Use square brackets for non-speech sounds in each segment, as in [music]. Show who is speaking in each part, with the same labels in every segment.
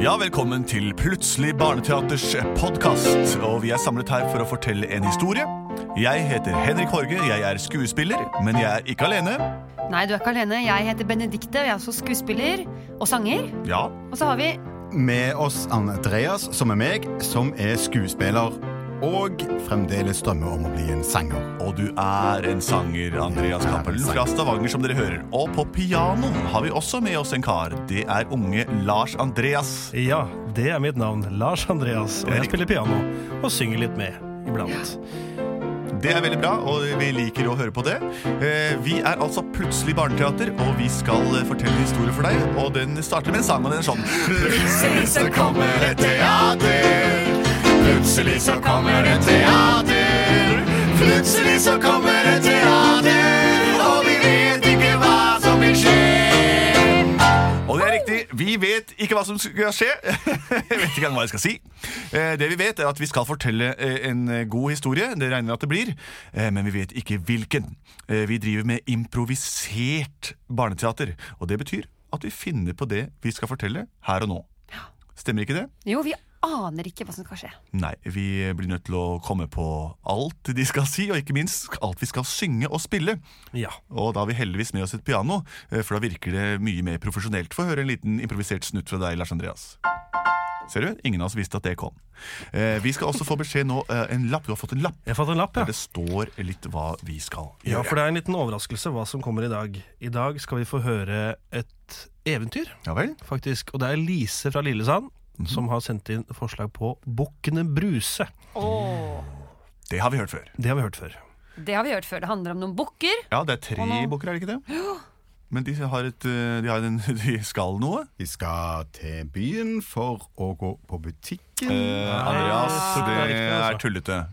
Speaker 1: Ja, velkommen til Plutselig barneteaters podkast. Og vi er samlet her for å fortelle en historie. Jeg heter Henrik Horge, jeg er skuespiller, men jeg er ikke alene.
Speaker 2: Nei, du er ikke alene. Jeg heter Benedikte, og jeg er også skuespiller og sanger.
Speaker 1: Ja,
Speaker 2: Og så har vi
Speaker 3: Med oss Andreas, som er meg, som er skuespiller. Og fremdeles drømmer om å bli en sanger.
Speaker 1: og du er en sanger, Andreas Cappelen fra Stavanger, som dere hører. Og på piano har vi også med oss en kar. Det er unge Lars Andreas.
Speaker 4: Ja, det er mitt navn, Lars Andreas, og
Speaker 1: Det er
Speaker 4: jeg spiller piano og synger litt med iblant.
Speaker 1: Det er veldig bra, og vi liker å høre på det. Eh, Vi er altså Plutselig barneteater, og vi skal eh, fortelle en historie for deg. Og den starter med en sang, og den er sånn Plutselig så kommer et teater. Plutselig så kommer et teater. Plutselig så kommer et teater, og vi vet ikke hva som vil skje. Og det er riktig. Vi vet ikke hva som skal skje. [laughs] jeg vet ikke hva jeg skal si. Eh, Det vi vet, er at vi skal fortelle eh, en eh, god historie. Det regner jeg at det blir. Eh, Men vi vet ikke hvilken. Eh, Vi driver med improvisert barneteater. Og det betyr at vi finner på det vi skal fortelle her og nå. Stemmer ikke det?
Speaker 2: Jo, vi aner ikke hva som skal skje.
Speaker 1: Nei, vi blir nødt til å komme på alt de skal si, og ikke minst alt vi skal synge og spille.
Speaker 4: Ja.
Speaker 1: Og da har vi heldigvis med oss et piano, eh, for da virker det mye mer profesjonelt. Få høre en liten improvisert snutt fra deg, Lars Andreas. Ser du? Ingen av oss visste at det kom. Eh, vi skal også få beskjed nå. Eh, en lapp. Du har fått en lapp.
Speaker 4: Jeg fant en lapp,
Speaker 1: Der
Speaker 4: ja.
Speaker 1: det står litt hva vi skal gjøre.
Speaker 4: Ja, for det er en liten overraskelse hva som kommer i dag. I dag skal vi få høre et eventyr,
Speaker 1: Ja vel?
Speaker 4: faktisk. Og det er Lise fra Lillesand som har sendt inn forslag på Bukkene Bruse.
Speaker 2: Åh.
Speaker 1: Det har vi hørt før.
Speaker 4: Det har vi hørt før.
Speaker 2: Det har vi hørt før. Det handler om noen bukker.
Speaker 1: Ja, det er tre
Speaker 2: Og nå-
Speaker 1: bukker, er det ikke det? Men de, har et, eh, de, har en, [laughs] de skal noe.
Speaker 3: Vi skal til byen for å gå på butikken.
Speaker 1: Eh, Andreas,
Speaker 4: Ah, det er
Speaker 1: det
Speaker 4: riktig, altså.
Speaker 1: er tullete.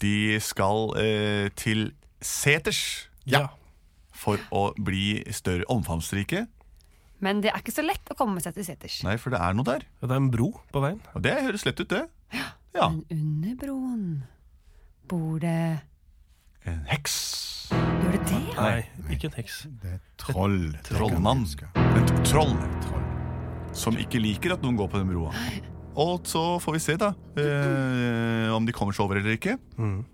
Speaker 1: De skal eh, til seters
Speaker 4: Ja.
Speaker 1: for å bli større omfangsrike.
Speaker 2: Men det er ikke så lett å komme seg til seters.
Speaker 1: Nei, for det er noe der.
Speaker 4: Og Det er en bro på veien.
Speaker 1: Og det høres lett ut, det. Ja.
Speaker 2: Men under broen bor det
Speaker 1: En heks.
Speaker 2: Gjør det det? ja?
Speaker 4: Nei, ikke en heks.
Speaker 3: Det er troll.
Speaker 1: Trollmann.
Speaker 3: Det kan
Speaker 1: En t- troll
Speaker 3: vi huske. Troll.
Speaker 1: som ikke liker at noen går på den broa. Og så får vi se, da, eh, om de kommer seg over eller ikke.
Speaker 4: Mhm.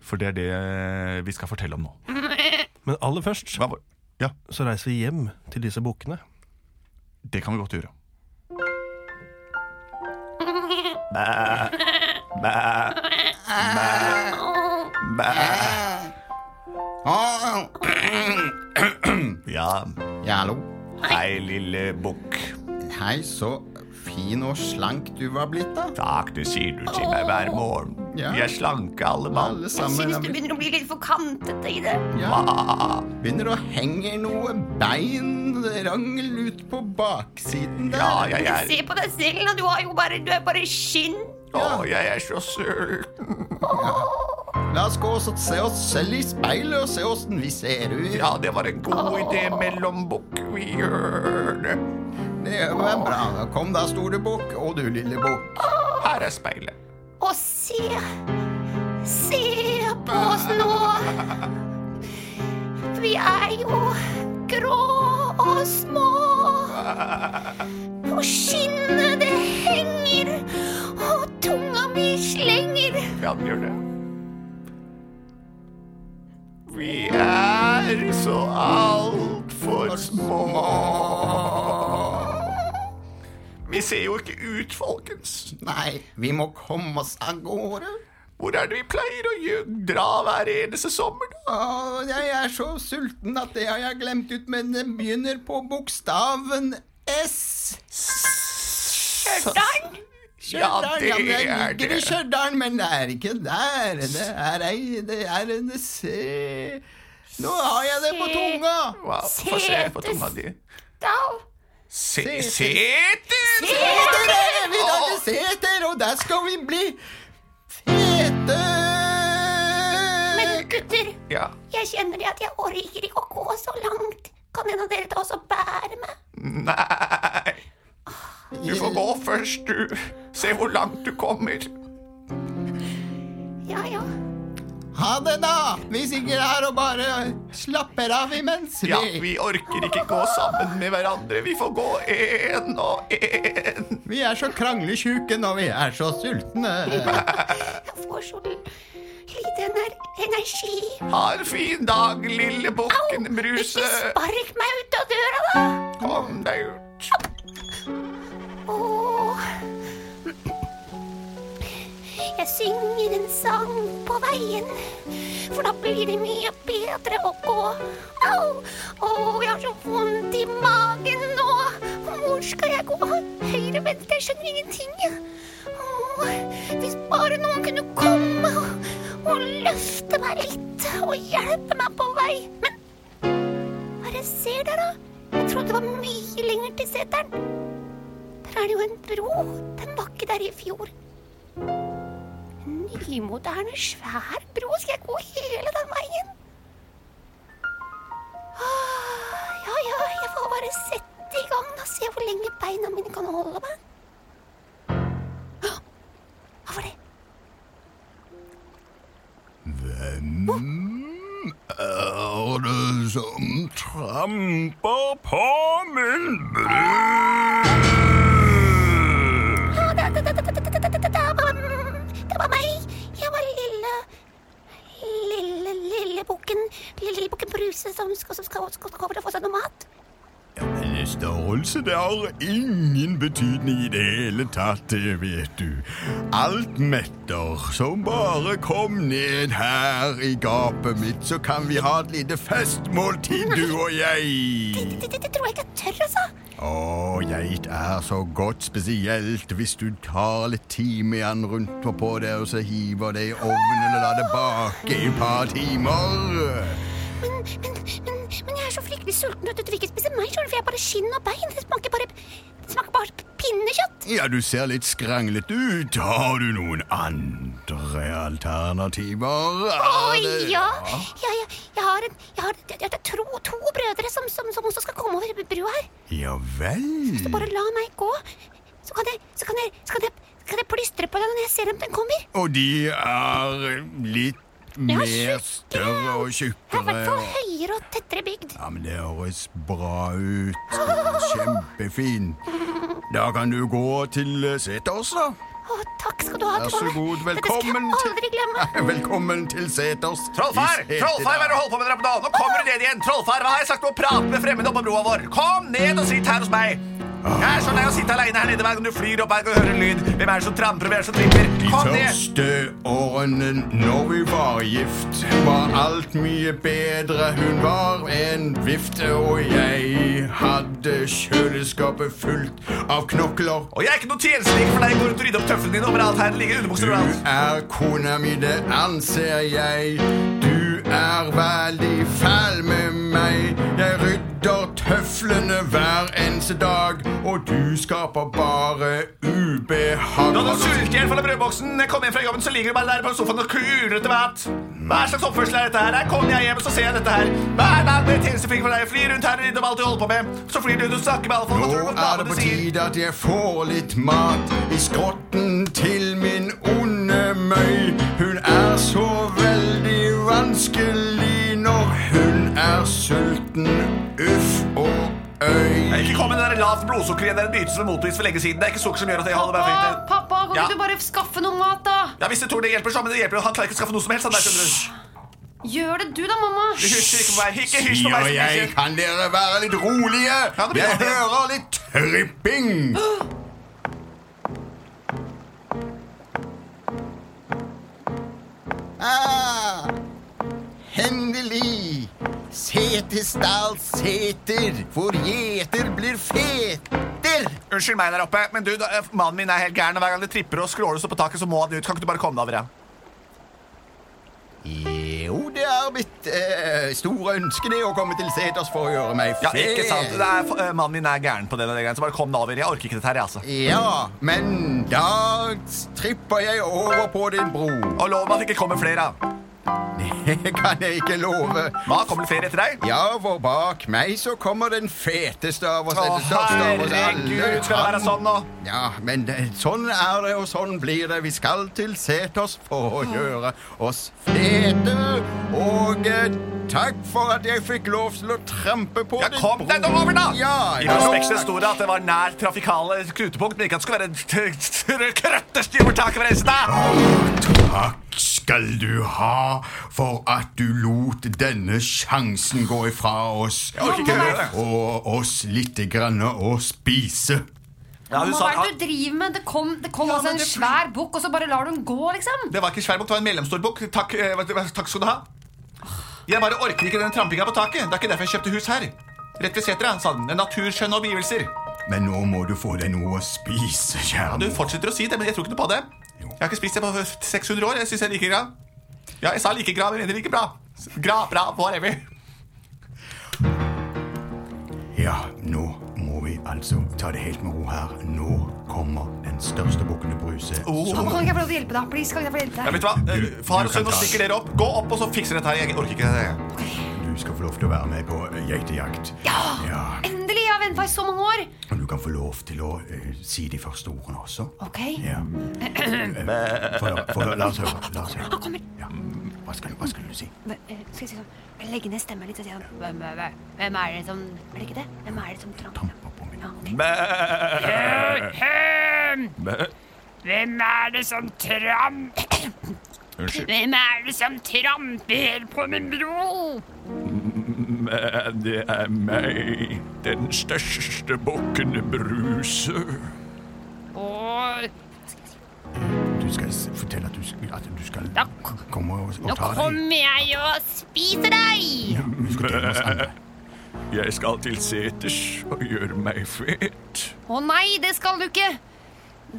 Speaker 1: For det er det vi skal fortelle om nå.
Speaker 4: Men aller først
Speaker 1: Hva var- Ja,
Speaker 4: så reiser vi hjem til disse bukkene.
Speaker 1: det kan vi godt gjøre.
Speaker 3: Ah,
Speaker 1: Ja,
Speaker 3: ja, hallo.
Speaker 1: hei, lille bukk.
Speaker 3: Hei, så fin og slank du var blitt, da.
Speaker 1: Takk, det sier du til meg hver morgen.
Speaker 3: Ja.
Speaker 1: Vi er slanke, alle mann.
Speaker 3: Alle sammen.
Speaker 2: Synes begynner å bli litt for kantete i det.
Speaker 3: Ja. Begynner å henge noe beinrangel ut på baksiden der.
Speaker 1: Ja, jeg er
Speaker 2: Se på deg selv, da. du, har jo bare, du er bare skinn.
Speaker 1: Å, jeg er så sulten.
Speaker 3: La oss gå og så se oss selv i speilet og se åssen vi ser ut.
Speaker 1: Ja, det var en god idé mellom bukk. Vi gjør det.
Speaker 3: Det var bra. Kom da, store bukk, og du, lille bukk.
Speaker 1: Her er speilet.
Speaker 2: Og se Se på oss nå. Vi er jo grå og små. På skinnet det henger, og tunga mi slenger.
Speaker 1: Ja, den gjør det. Vi er så altfor små. Vi ser jo ikke ut, folkens.
Speaker 3: Nei, vi må komme oss av gårde.
Speaker 1: Hvor er det vi pleier å gjø- dra hver eneste sommer, da?
Speaker 3: Å, jeg er så sulten at det har jeg glemt ut, men det begynner på bokstaven S.
Speaker 2: Stang!
Speaker 1: Ja, det
Speaker 3: men
Speaker 1: er
Speaker 3: Jeg ligger i
Speaker 1: det.
Speaker 3: Stjørdal, men det er ikke der. Det er ei Det er en C Nå har jeg det på tunga!
Speaker 1: Wow, Få se på tunga di. Se-
Speaker 3: Setes.
Speaker 1: Seter!
Speaker 3: Seter er det! Vi lager seter, og der skal vi bli fete!
Speaker 5: Men gutter,
Speaker 1: Ja.
Speaker 5: jeg kjenner det at jeg orker ikke å gå så langt. Kan en av dere ta oss og bære meg?
Speaker 1: Nei. Du får gå først, du. Se hvor langt du kommer.
Speaker 5: Ja, ja.
Speaker 3: Ha det, da! Hvis ikke ligger her og bare slapper av imens.
Speaker 1: Ja, vi orker ikke gå sammen med hverandre. Vi får gå én og én.
Speaker 3: Vi er så krangletjuke når vi er så sultne.
Speaker 5: Jeg får så lite ener energi.
Speaker 1: Ha en fin dag, lille bukken Bruse.
Speaker 5: Ikke spark meg ut av døra, da!
Speaker 1: Kom deg ut.
Speaker 5: Åh. Jeg synger en sang på veien, for da blir det mye bedre å gå. Au! Åh, jeg har så vondt i magen nå. Hvor skal jeg gå? Høyre, venstre, jeg skjønner ingenting. Åh, hvis bare noen kunne komme og, og løfte meg litt og hjelpe meg på vei. Men hva er det jeg ser der, da? Jeg trodde det var mye lenger til seteren. Der er det jo en bro. Den var ikke der i fjor. En nymoderne, svær bro. Skal jeg gå hele den veien? Ah, Ja, ja, jeg får bare sette i gang og se hvor lenge beina mine kan holde meg. Ah, Hva var det?
Speaker 3: Er det som tramper på min brud?
Speaker 5: Ah, Det, det, det, det, det, det, det, det, det, det var- det var meg. Jeg var lille Lille, lille bukken Lille bukken Bruse som skal, som skal, skal over og få seg noe mat.
Speaker 3: Men størrelse, det har ingen betydning i det hele tatt, det vet du. Alt metter, så bare kom ned her i gapet mitt, så kan vi ha et lite festmåltid, du og jeg.
Speaker 5: Det, det, det tror jeg ikke jeg tør, altså.
Speaker 3: Å, geit er så godt, spesielt hvis du tar litt timian rundt og på det, og så hiver det i ovnen og lar det bake i et par timer.
Speaker 5: Men, men, men, men jeg er så fryktelig sulten at du vil ikke spise meg, skjønner du, for jeg er bare skinn og bein. Det smaker bare, det smaker bare pinnekjøtt.
Speaker 3: Ja, du ser litt skranglet ut. Har du noen andre alternativer?
Speaker 5: Å
Speaker 3: Er
Speaker 5: ja.
Speaker 3: det-
Speaker 5: ja, ja. Jeg har, en, jeg har jeg har tro, to brødre som, som, som også skal komme over brua her.
Speaker 3: Ja vel.
Speaker 5: Så bare la meg gå. Så kan jeg, så kan jeg, så kan jeg, så kan jeg plystre på deg når jeg ser om den kommer.
Speaker 3: Og de er litt mer
Speaker 5: tjukke.
Speaker 3: større og
Speaker 5: Jeg er i hvert fall
Speaker 3: tjukkere.
Speaker 5: høyere og tettere bygd.
Speaker 3: Ja, men det høres bra ut. Kjempefint. Da kan du gå til eh, seters, da. [laughs]
Speaker 5: Å, takk skal du ha,
Speaker 3: Vær så
Speaker 5: Trond.
Speaker 3: god.
Speaker 5: Dette skal
Speaker 3: Velkommen
Speaker 5: jeg
Speaker 3: til
Speaker 5: aldri glemme.
Speaker 3: Velkommen til seters.
Speaker 1: Trollfar!
Speaker 3: Vi ses i
Speaker 1: Trollfar, hva er det du
Speaker 3: dag.
Speaker 1: holder på med der oppe nå? Nå kommer du ned igjen! Trollfar, hva har jeg sagt om å prate med fremmede oppe på broa vår? Kom ned og sitt her hos meg! Jeg er så lei av å sitte aleine her nede hver gang du flyr opp her og hører en lyd. Hvem er det som tramper, og hvem er det som drikker?
Speaker 3: De
Speaker 1: Kom ned!
Speaker 3: første årene når vi var gift, var alt mye bedre. Hun var en vifte, og jeg hadde kjøleskapet fullt av knokler.
Speaker 1: Og jeg er ikke noe tjenestelig for deg. Går rundt og rydder opp tøflene dine overalt her. Det ligger
Speaker 3: Du
Speaker 1: underbukser overalt.
Speaker 3: er kona mi, det anser jeg. Du er veldig fæl med meg. Jeg rydder tøflene hver eneste dag, og du skaper bare ubehag.
Speaker 1: Nå er du sulten i hjel fra brødboksen. Når jeg kommer hjem fra jobben, så ligger du bare der på sofaen og kuler etter mat. Hva slags oppførsel er dette her? Her kommer jeg hjem, og så ser jeg dette her. Hver dag blir jeg tjenesteflink for deg. Jeg flyr rundt her og rydder opp alt du holder på med. Så flyr du ut og snakker med alle folk. og
Speaker 3: Nå
Speaker 1: tror du på
Speaker 3: er
Speaker 1: hva
Speaker 3: det på
Speaker 1: du sier.
Speaker 3: tide at jeg får litt mat i skrotten til min onde møy. Hun er så veldig vanskelig når hun er sulten. Uff og
Speaker 1: Nei,
Speaker 3: øy.
Speaker 1: Ikke kom med det der lavt blodsukker igjen. Det er en nytelse med motis for lenge siden. Det er ikke sukker som gjør at jeg holder meg
Speaker 2: Pappa,
Speaker 1: fint.
Speaker 2: pappa, kan
Speaker 1: Ja.
Speaker 2: ikke du bare skaffe noe mat, da?
Speaker 1: Ja, hvis det tror det hjelper, så, men det hjelper jo. Han klarer ikke å skaffe noe som helst. Han der, skjønner du.
Speaker 2: Gjør det du, da, mamma.
Speaker 1: Du hysjer ikke på meg. Ikke hysj på
Speaker 3: Sier
Speaker 1: meg. som
Speaker 3: jeg,
Speaker 1: hysjer.
Speaker 3: kan dere være litt rolige?
Speaker 1: Ja, det blir
Speaker 3: Jeg
Speaker 1: bra.
Speaker 3: hører litt tripping. Ah, Endelig! Setesdal seter, hvor gjeter blir feter.
Speaker 1: Unnskyld meg der oppe, men du, da, eh, mannen min er helt gæren. Og hver gang det tripper og skråler og står på taket, så må han ut. Kan ikke du bare komme deg over igjen?
Speaker 3: Jo, det er mitt eh, store ønske det å komme til seters for å gjøre meg
Speaker 1: Ja, ikke sant. Det er, eh, mannen min er gæren på det. og det greiene, Så bare kom deg over. Jeg orker ikke dette her, jeg, altså.
Speaker 3: Ja, men da tripper jeg over på din bro.
Speaker 1: Og lov meg at det ikke kommer flere.
Speaker 3: [laughs] Det kan jeg ikke love.
Speaker 1: Da kommer det flere etter deg.
Speaker 3: Ja, for bak meg så kommer den feteste av oss.
Speaker 1: Å,
Speaker 3: den største av oss alle.
Speaker 1: herregud, skal det være
Speaker 3: Han-
Speaker 1: sånn nå?
Speaker 3: Ja, men det, sånn er det, og sånn blir det. Vi skal til Seters for å gjøre oss fete. Og eh, takk for at jeg fikk lov til å trampe på
Speaker 1: Ja,
Speaker 3: ditt
Speaker 1: kom deg nå
Speaker 3: bro-
Speaker 1: over, da!
Speaker 3: Ja,
Speaker 1: I
Speaker 3: ja,
Speaker 1: prospektet
Speaker 3: takk.
Speaker 1: sto det at det var nær trafikale knutepunkt, men ikke at det skulle være krøttestyver tak over reisen. da!
Speaker 3: Takk skal du ha for at du lot denne sjansen gå ifra oss.
Speaker 1: orker ikke gjøre det.
Speaker 3: Og oss litt grann å spise.
Speaker 1: Ja, hun
Speaker 6: Hva
Speaker 1: sa
Speaker 6: er det du driver med? Det kom, det kom altså en svær bukk, og så bare lar du den gå, liksom?
Speaker 1: Det var ikke svær bok, det var en mellomstor bok. Takk, eh, hva- hva- takk skal du ha. Jeg bare orker ikke den trampinga på taket. Det er ikke derfor jeg kjøpte hus her. Rett ved setra, sa den. Naturskjønne omgivelser.
Speaker 3: Men nå må du få deg noe å spise,
Speaker 1: Ja,
Speaker 3: kjære.
Speaker 1: Du
Speaker 3: mor.
Speaker 1: fortsetter å si det, men jeg tror ikke noe på det.
Speaker 3: Jo.
Speaker 1: Jeg har ikke spist det på 600 år. Jeg syns jeg liker gra. Ja, jeg sa like gra, men jeg mener like bra. Gra, bra, whatever.
Speaker 3: Ja, nå må vi altså ta det helt med ro her. Nå kommer den største bukken til Bruse.
Speaker 1: Åh.
Speaker 6: Pappa,
Speaker 3: Så
Speaker 6: kan ikke jeg få lov til å hjelpe deg? Please, kan ikke jeg få hjelpe
Speaker 1: Ja,
Speaker 6: deg?
Speaker 1: vet du hva?
Speaker 3: Du-
Speaker 1: Eh, Far
Speaker 3: du
Speaker 1: og sønn,
Speaker 3: kan
Speaker 1: nå
Speaker 3: ta.
Speaker 1: stikker dere opp. Gå opp, og så fikser dere dette her. Jeg orker ikke det.
Speaker 3: du skal få lov til å være med på eh, geitejakt. Ja.
Speaker 6: Endelig! Jeg har venta i så mange år.
Speaker 3: Og du kan få lov til å eh, si de første ordene også.
Speaker 6: Ok.
Speaker 3: Ja. Eh, Få høre. få høre, La oss høre. La oss høre. Ja. Hva, skal, du- hva skal du si?
Speaker 6: Men, eh, Skal jeg si sånn jeg Legger ned stemmen litt og sier sånn Hvem er det, hvem er det som Er det ikke det? Hvem er det som tramper?
Speaker 3: Trampa på min.
Speaker 6: Ja, ok.
Speaker 7: Hvem er det som tramp...
Speaker 3: Unnskyld.
Speaker 7: Hvem er det som tramper på min bro?
Speaker 3: Det er meg, den største bukken Bruse.
Speaker 7: Og
Speaker 3: Du skal s- fortelle at du skal, at du skal
Speaker 7: Da-
Speaker 3: komme og, og
Speaker 7: nå
Speaker 3: ta deg.
Speaker 7: kommer jeg og spiser deg!
Speaker 3: Du skal dele med oss andre.
Speaker 8: Jeg skal til seters og gjøre meg fet.
Speaker 6: Å nei, det skal du ikke!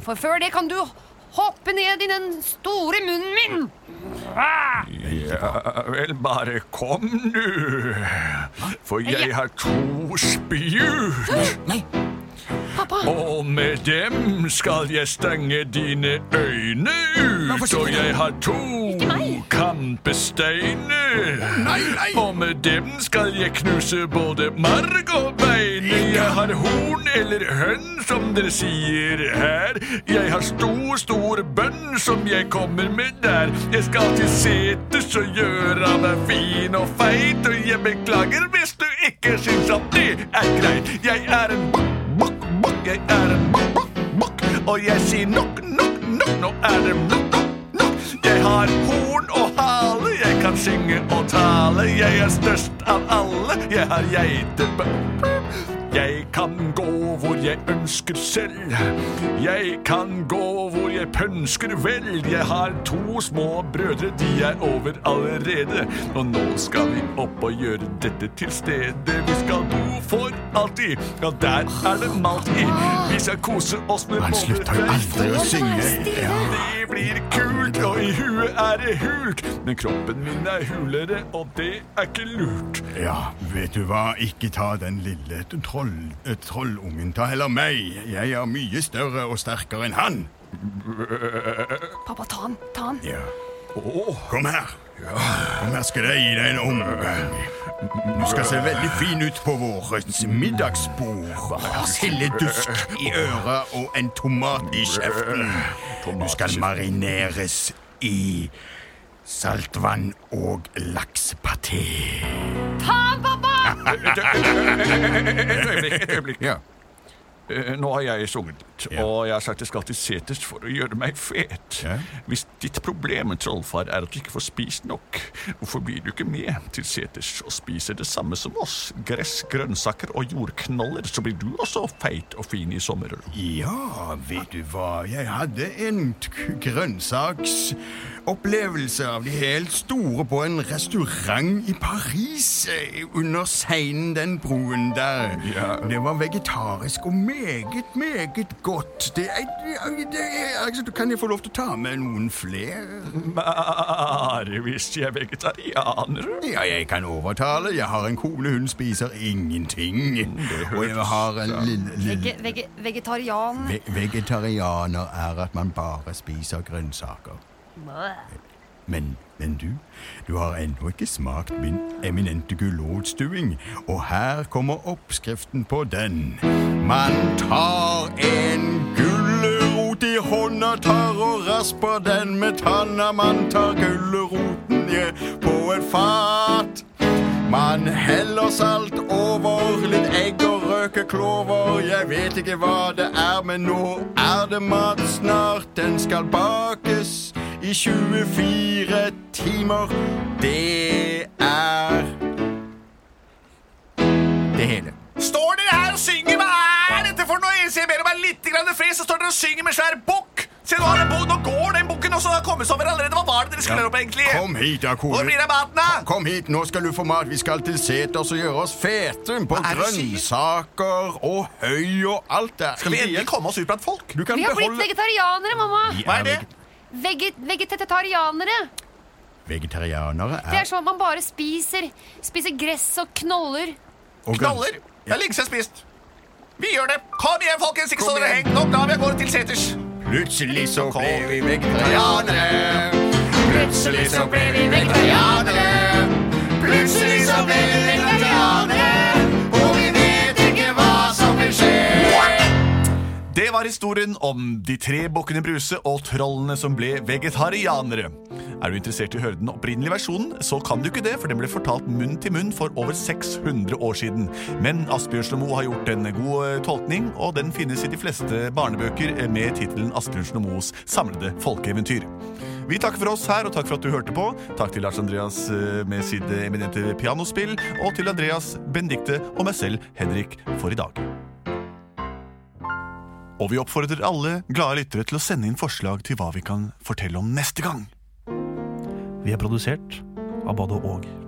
Speaker 6: For før det kan du hoppe ned i den store munnen min!
Speaker 8: Ja vel, bare kom, du. For jeg har to spjut,
Speaker 6: Pappa!
Speaker 8: og med dem skal jeg stenge dine øyne ut. Og jeg har to kampesteiner, og med dem skal jeg knuse både marg og bein. Jeg har horn eller hønn, som dere sier her. Jeg har stor, stor bønn som jeg kommer med der. Jeg skal til seters og gjøre meg fin og feit, og jeg beklager hvis du ikke syns at det er greit. Jeg er en bukk, bukk, bukk, jeg er en bukk, bukk, bukk, og jeg sier nok, nok, nok, nå er det nok, nok. nok. Jeg har horn og hale, jeg kan synge og tale. Jeg er størst av alle, jeg har geitebønn. Jeg kan gå hvor jeg ønsker selv. Jeg kan gå hvor jeg pønsker vel. Jeg har to små brødre, de er over allerede. Og nå skal vi opp og gjøre dette til stede. Vi skal bo for alltid, og der er det malt i. Vi skal kose oss med
Speaker 3: Han slutter jo aldri å synge. Ja.
Speaker 8: Det blir kult, og i huet er det hult. Men kroppen min er hulere, og det er ikke lurt.
Speaker 3: ja, vet du hva? Ikke ta den lille troll, eh, trollungen. Ta heller meg. Jeg er mye større og sterkere enn han.
Speaker 6: Pappa, ta han! Ta han!
Speaker 3: Ja. Kom her. Kom her skal jeg gi deg en omgang. Du skal se veldig fin ut på vårt middagsbord. Sildedusk i øret og en tomat i kjeften. Du skal marineres i saltvann og laksepaté.
Speaker 6: Ta han, pappa!
Speaker 8: Et øyeblikk, et øyeblikk.
Speaker 3: Ja.
Speaker 8: Eh, Nå har jeg sunget litt,
Speaker 3: Ja.
Speaker 8: og jeg har sagt jeg skal til seters for å gjøre meg fet.
Speaker 3: Ja.
Speaker 8: Hvis ditt problem med trollfar er at du ikke får spist nok, hvorfor blir du ikke med til seters og spiser det samme som oss? Gress, grønnsaker og jordknoller, så blir du også feit og fin i sommer. [laughs]
Speaker 3: Ja, vet du hva? Jeg hadde en t- grønnsaksopplevelse av de helt store på en restaurant i Paris eh, under seinen den broen der.
Speaker 8: Ja.
Speaker 3: Det var vegetarisk og meget, meget godt. Det er, det er, altså, kan jeg få lov til å ta med noen flere?
Speaker 8: Bare hvis de er vegetarianere.
Speaker 3: Ja, jeg kan overtale. Jeg har en kone, hun spiser ingenting. Og jeg har en lille, lille
Speaker 6: Vege, vege, vegetarian
Speaker 3: Ve vegetarianer er at man bare spiser grønnsaker. Men, men du, du har ennå ikke smakt min eminente gulrotstuing, og her kommer oppskriften på den. Man tar en gulrot i hånda, tar og rasper den med tanna. Man tar gulroten ja, på et fat. Man heller salt over, litt egg og røkeklover. Jeg vet ikke hva det er, men nå er det mat snart. Den skal bakes i 24 timer. Det er det hele.
Speaker 1: Står dere her og synger? Hva er dette for noe? Jeg ber om meg litt grann fred, så står dere og synger med svær bukk. Se, nå, har den bu- nå går den bukken også. Den har kommet seg over allerede. Hva var det dere skulle opp, egentlig?
Speaker 3: Kom hit, da, kone.
Speaker 1: Hvor blir det av maten, da?
Speaker 3: Kom hit, nå skal du få mat. Vi skal til seters og gjøre oss fete på
Speaker 1: er det du sier?
Speaker 3: grønnsaker og høy og alt der.
Speaker 1: Skal vi endelig komme oss ut blant folk?
Speaker 3: Du kan
Speaker 6: Vi har blitt
Speaker 3: beholde
Speaker 6: vegetarianere, mamma.
Speaker 1: Hva er det?
Speaker 6: Veget vegetetarianere.
Speaker 3: Vegetarianere
Speaker 6: Det er
Speaker 3: er
Speaker 6: sånn at man bare spiser. Spiser gress og knoller.
Speaker 3: og
Speaker 1: Knaller?
Speaker 3: grønns-
Speaker 1: Det er lenge siden spist. Vi gjør det. Kom igjen, folkens. Ikke stå
Speaker 3: Kom
Speaker 1: dere
Speaker 3: igjen.
Speaker 1: heng. Nå drar vi av gårde til seters.
Speaker 3: Plutselig så
Speaker 1: Kom.
Speaker 3: ble vi vegetarianere. Plutselig så ble vi vegetarianere. Plutselig så ble vi vegetarianere. Og vi vet ikke hva som vil skje.
Speaker 1: Det var historien om de tre bukkene Bruse og trollene som ble vegetarianere. Er du interessert i å høre den opprinnelige versjonen, så kan du ikke det, for den ble fortalt munn til munn for over 600 år siden. Men Asbjørnsen og Moe har gjort en god eh, tolkning, og den finnes i de fleste barnebøker eh, med tittelen Asbjørnsen og Moes samlede folkeeventyr. Vi takker for oss her, og takk for at du hørte på. Takk til Lars Andreas eh, med sitt eh, eminente pianospill, og til Andreas, Benedikte og meg selv, Henrik, for i dag. Og vi oppfordrer alle glade lyttere til å sende inn forslag til hva vi kan fortelle om neste gang.
Speaker 4: Vi er produsert av både og.